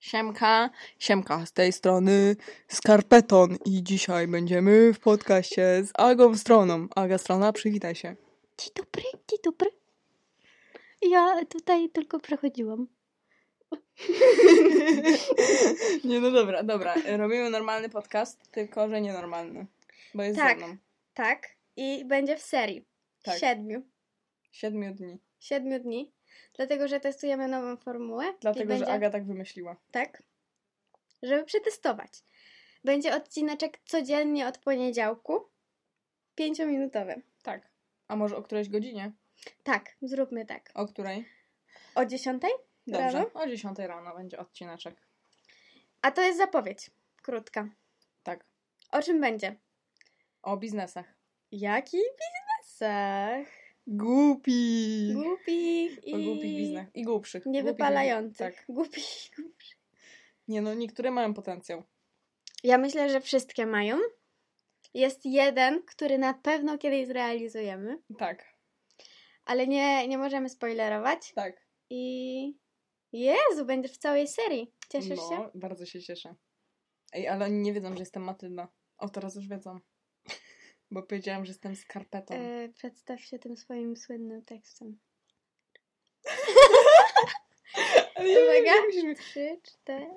Siemka, siemka z tej strony Skarpeton i dzisiaj będziemy w podcaście z Agą Stroną. Aga Strona, przywitaj się. Dzień dobry, dzień dobry. Ja tutaj tylko przechodziłam. Nie, no dobra, dobra. Robimy normalny podcast, tylko że nienormalny, bo jest Tak. ze mną. Tak, i będzie w serii. Tak. Siedmiu. Siedmiu dni, Siedmiu dni. Dlatego, że testujemy nową formułę. i dlatego będzie, że Aga tak wymyśliła. Tak. Żeby przetestować. Będzie odcineczek codziennie od poniedziałku. Pięciominutowy. Tak. A może o którejś godzinie? Tak, zróbmy tak. O której? O dziesiątej? Dobrze, Rano? o 10 rano będzie odcineczek. A to jest zapowiedź. Krótka. Tak. O czym będzie? O biznesach. Jaki biznesach? Głupi! Głupich i... O głupich biznach. I głupszych. Głupich i głup- Niewypalających. Tak. Głupich. Nie no, niektóre mają potencjał. Ja myślę, że wszystkie mają. Jest jeden, który na pewno kiedyś zrealizujemy, Tak, ale nie, nie możemy spoilerować. tak. I. Jezu, będziesz w całej serii. Cieszysz no, się? bardzo się cieszę. Ej, ale oni nie wiedzą, że jestem Matylda. O, teraz już wiedzą. Bo powiedziałam, że jestem skarpetą. E, przedstaw się tym swoim słynnym tekstem. Ale nie, uwaga. nie musisz mi- Trzy, cztery.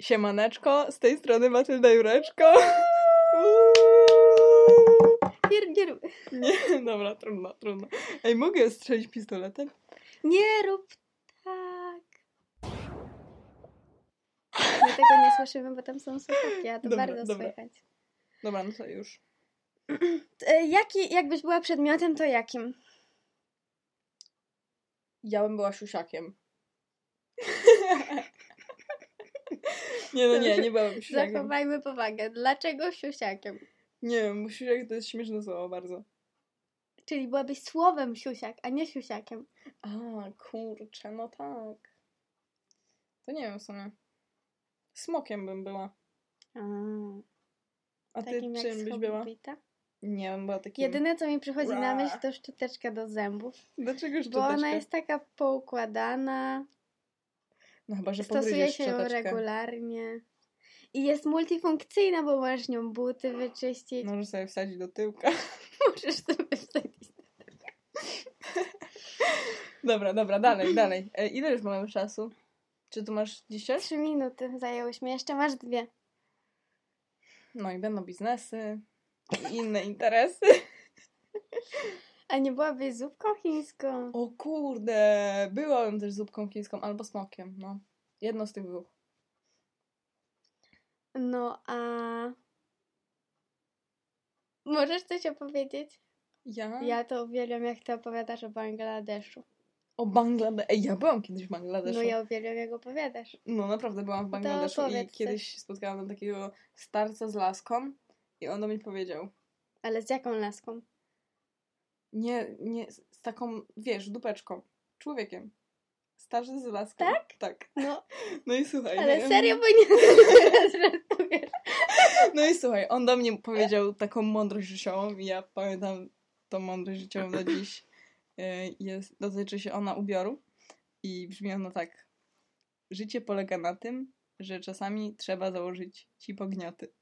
Siemaneczko, z tej strony Matylda Jureczko. Nie, nie, rób- nie, dobra, trudno, trudno. Ej, mogę strzelić pistoletem? nie rób tak. My tego nie słyszymy, bo tam są słuchawki, a to Dobra, bardzo dobra. słychać. Dobra, no to już. E, Jaki, jakbyś była przedmiotem, to jakim? Ja bym była siusiakiem. nie, no nie, nie byłabym siusiakiem. Zachowajmy powagę. Dlaczego siusiakiem? Nie wiem, siusiak to jest śmieszne słowo bardzo. Czyli byłabyś słowem siusiak, a nie siusiakiem. A, kurczę, no tak. To nie wiem w sumie. Smokiem bym była. A, A ty czym byś była? Nie, bym była takim... Jedyne, co mi przychodzi na Ra. myśl, to szczoteczka do zębów. Dlaczego Bo szczoteczkę? ona jest taka poukładana, No chyba, że stosuje pogryziesz się ją szczoteczkę. regularnie. I jest multifunkcyjna, bo możesz nią buty wyczyścić, Możesz sobie wsadzić do tyłka. możesz sobie wsadzić. Dobra, dobra, dalej, dalej. E, ile już mamy czasu? Czy tu masz dzisiaj? Trzy minuty zajęłyśmy, jeszcze masz dwie. No i będą biznesy i inne interesy. A nie byłabyś zupką chińską? O kurde, byłabym też zupką chińską albo smokiem, no. Jedno z tych dwóch. No a... Możesz coś opowiedzieć? Ja? Ja to uwielbiam, jak ty opowiadasz o Bangladeszu. O Bangladeszu. Ej, ja byłam kiedyś w Bangladeszu. No ja uwielbiam, jak opowiadasz. No naprawdę byłam w No to Bangladeszu i opowiedz kiedyś spotkałam tam takiego starca z laską i on do mnie powiedział, Ale z jaką laską? nie, nie, z- z taką, wiesz, dupeczką, człowiekiem. Starzy z laską. Tak? Tak. No, No i słuchaj. ale nie- serio, bo nie żartujesz. No i słuchaj, on do mnie powiedział taką mądrość życiową i ja pamiętam tą mądrość życiową do dziś. E, Jest, dotyczy się ona ubioru i brzmi ona tak. Życie polega na tym, że czasami trzeba założyć ci pognioty.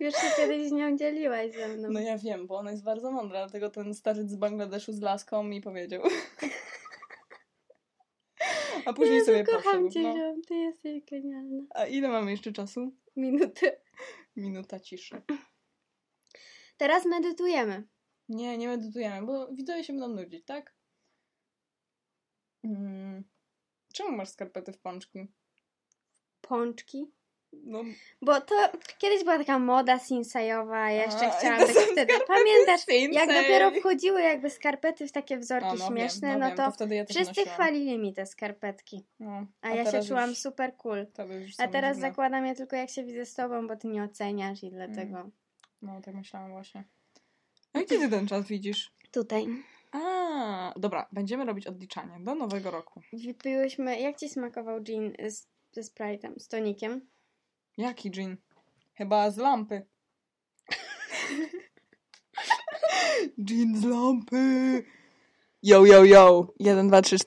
Już się kiedyś nią dzieliłaś ze mną. No ja wiem, bo ona jest bardzo mądra, dlatego ten starzec z Bangladeszu z laską mi powiedział. A później Jezu, sobie kocham poszedł. cię, No. Ziom, ty jesteś genialna. A ile mamy jeszcze czasu? Minuty. Minuta ciszy. Teraz medytujemy. Nie, nie medytujemy, bo widzowie się będą nudzić, tak? Mm. Czemu masz skarpety w pączki? Pączki. No, Bo to kiedyś była taka moda sinsajowa, ja jeszcze A, i chciałam to tak są wtedy. Pamiętasz, jak Sinsay. dopiero wchodziły jakby skarpety w takie wzorki a, no śmieszne, wiem, no, wiem, no to, wtedy ja też wszyscy nosiłam. chwalili mi te skarpetki. No, A, ja się teraz czułam już- super cool. teraz już A są teraz dziwne. zakładam je tylko jak się widzę z tobą, bo ty nie oceniasz Mm. i dlatego No, tak myślałam właśnie. A gdzie ty ten czas widzisz? tutaj. A, dobra, będziemy robić odliczanie do nowego roku. Wypiłyśmy, jak ci smakował gin z, ze Sprite'em, z tonikiem? Jaki gin? Chyba z lampy. gin z lampy. Yo, yo, yo. 1, 2, 3, 4.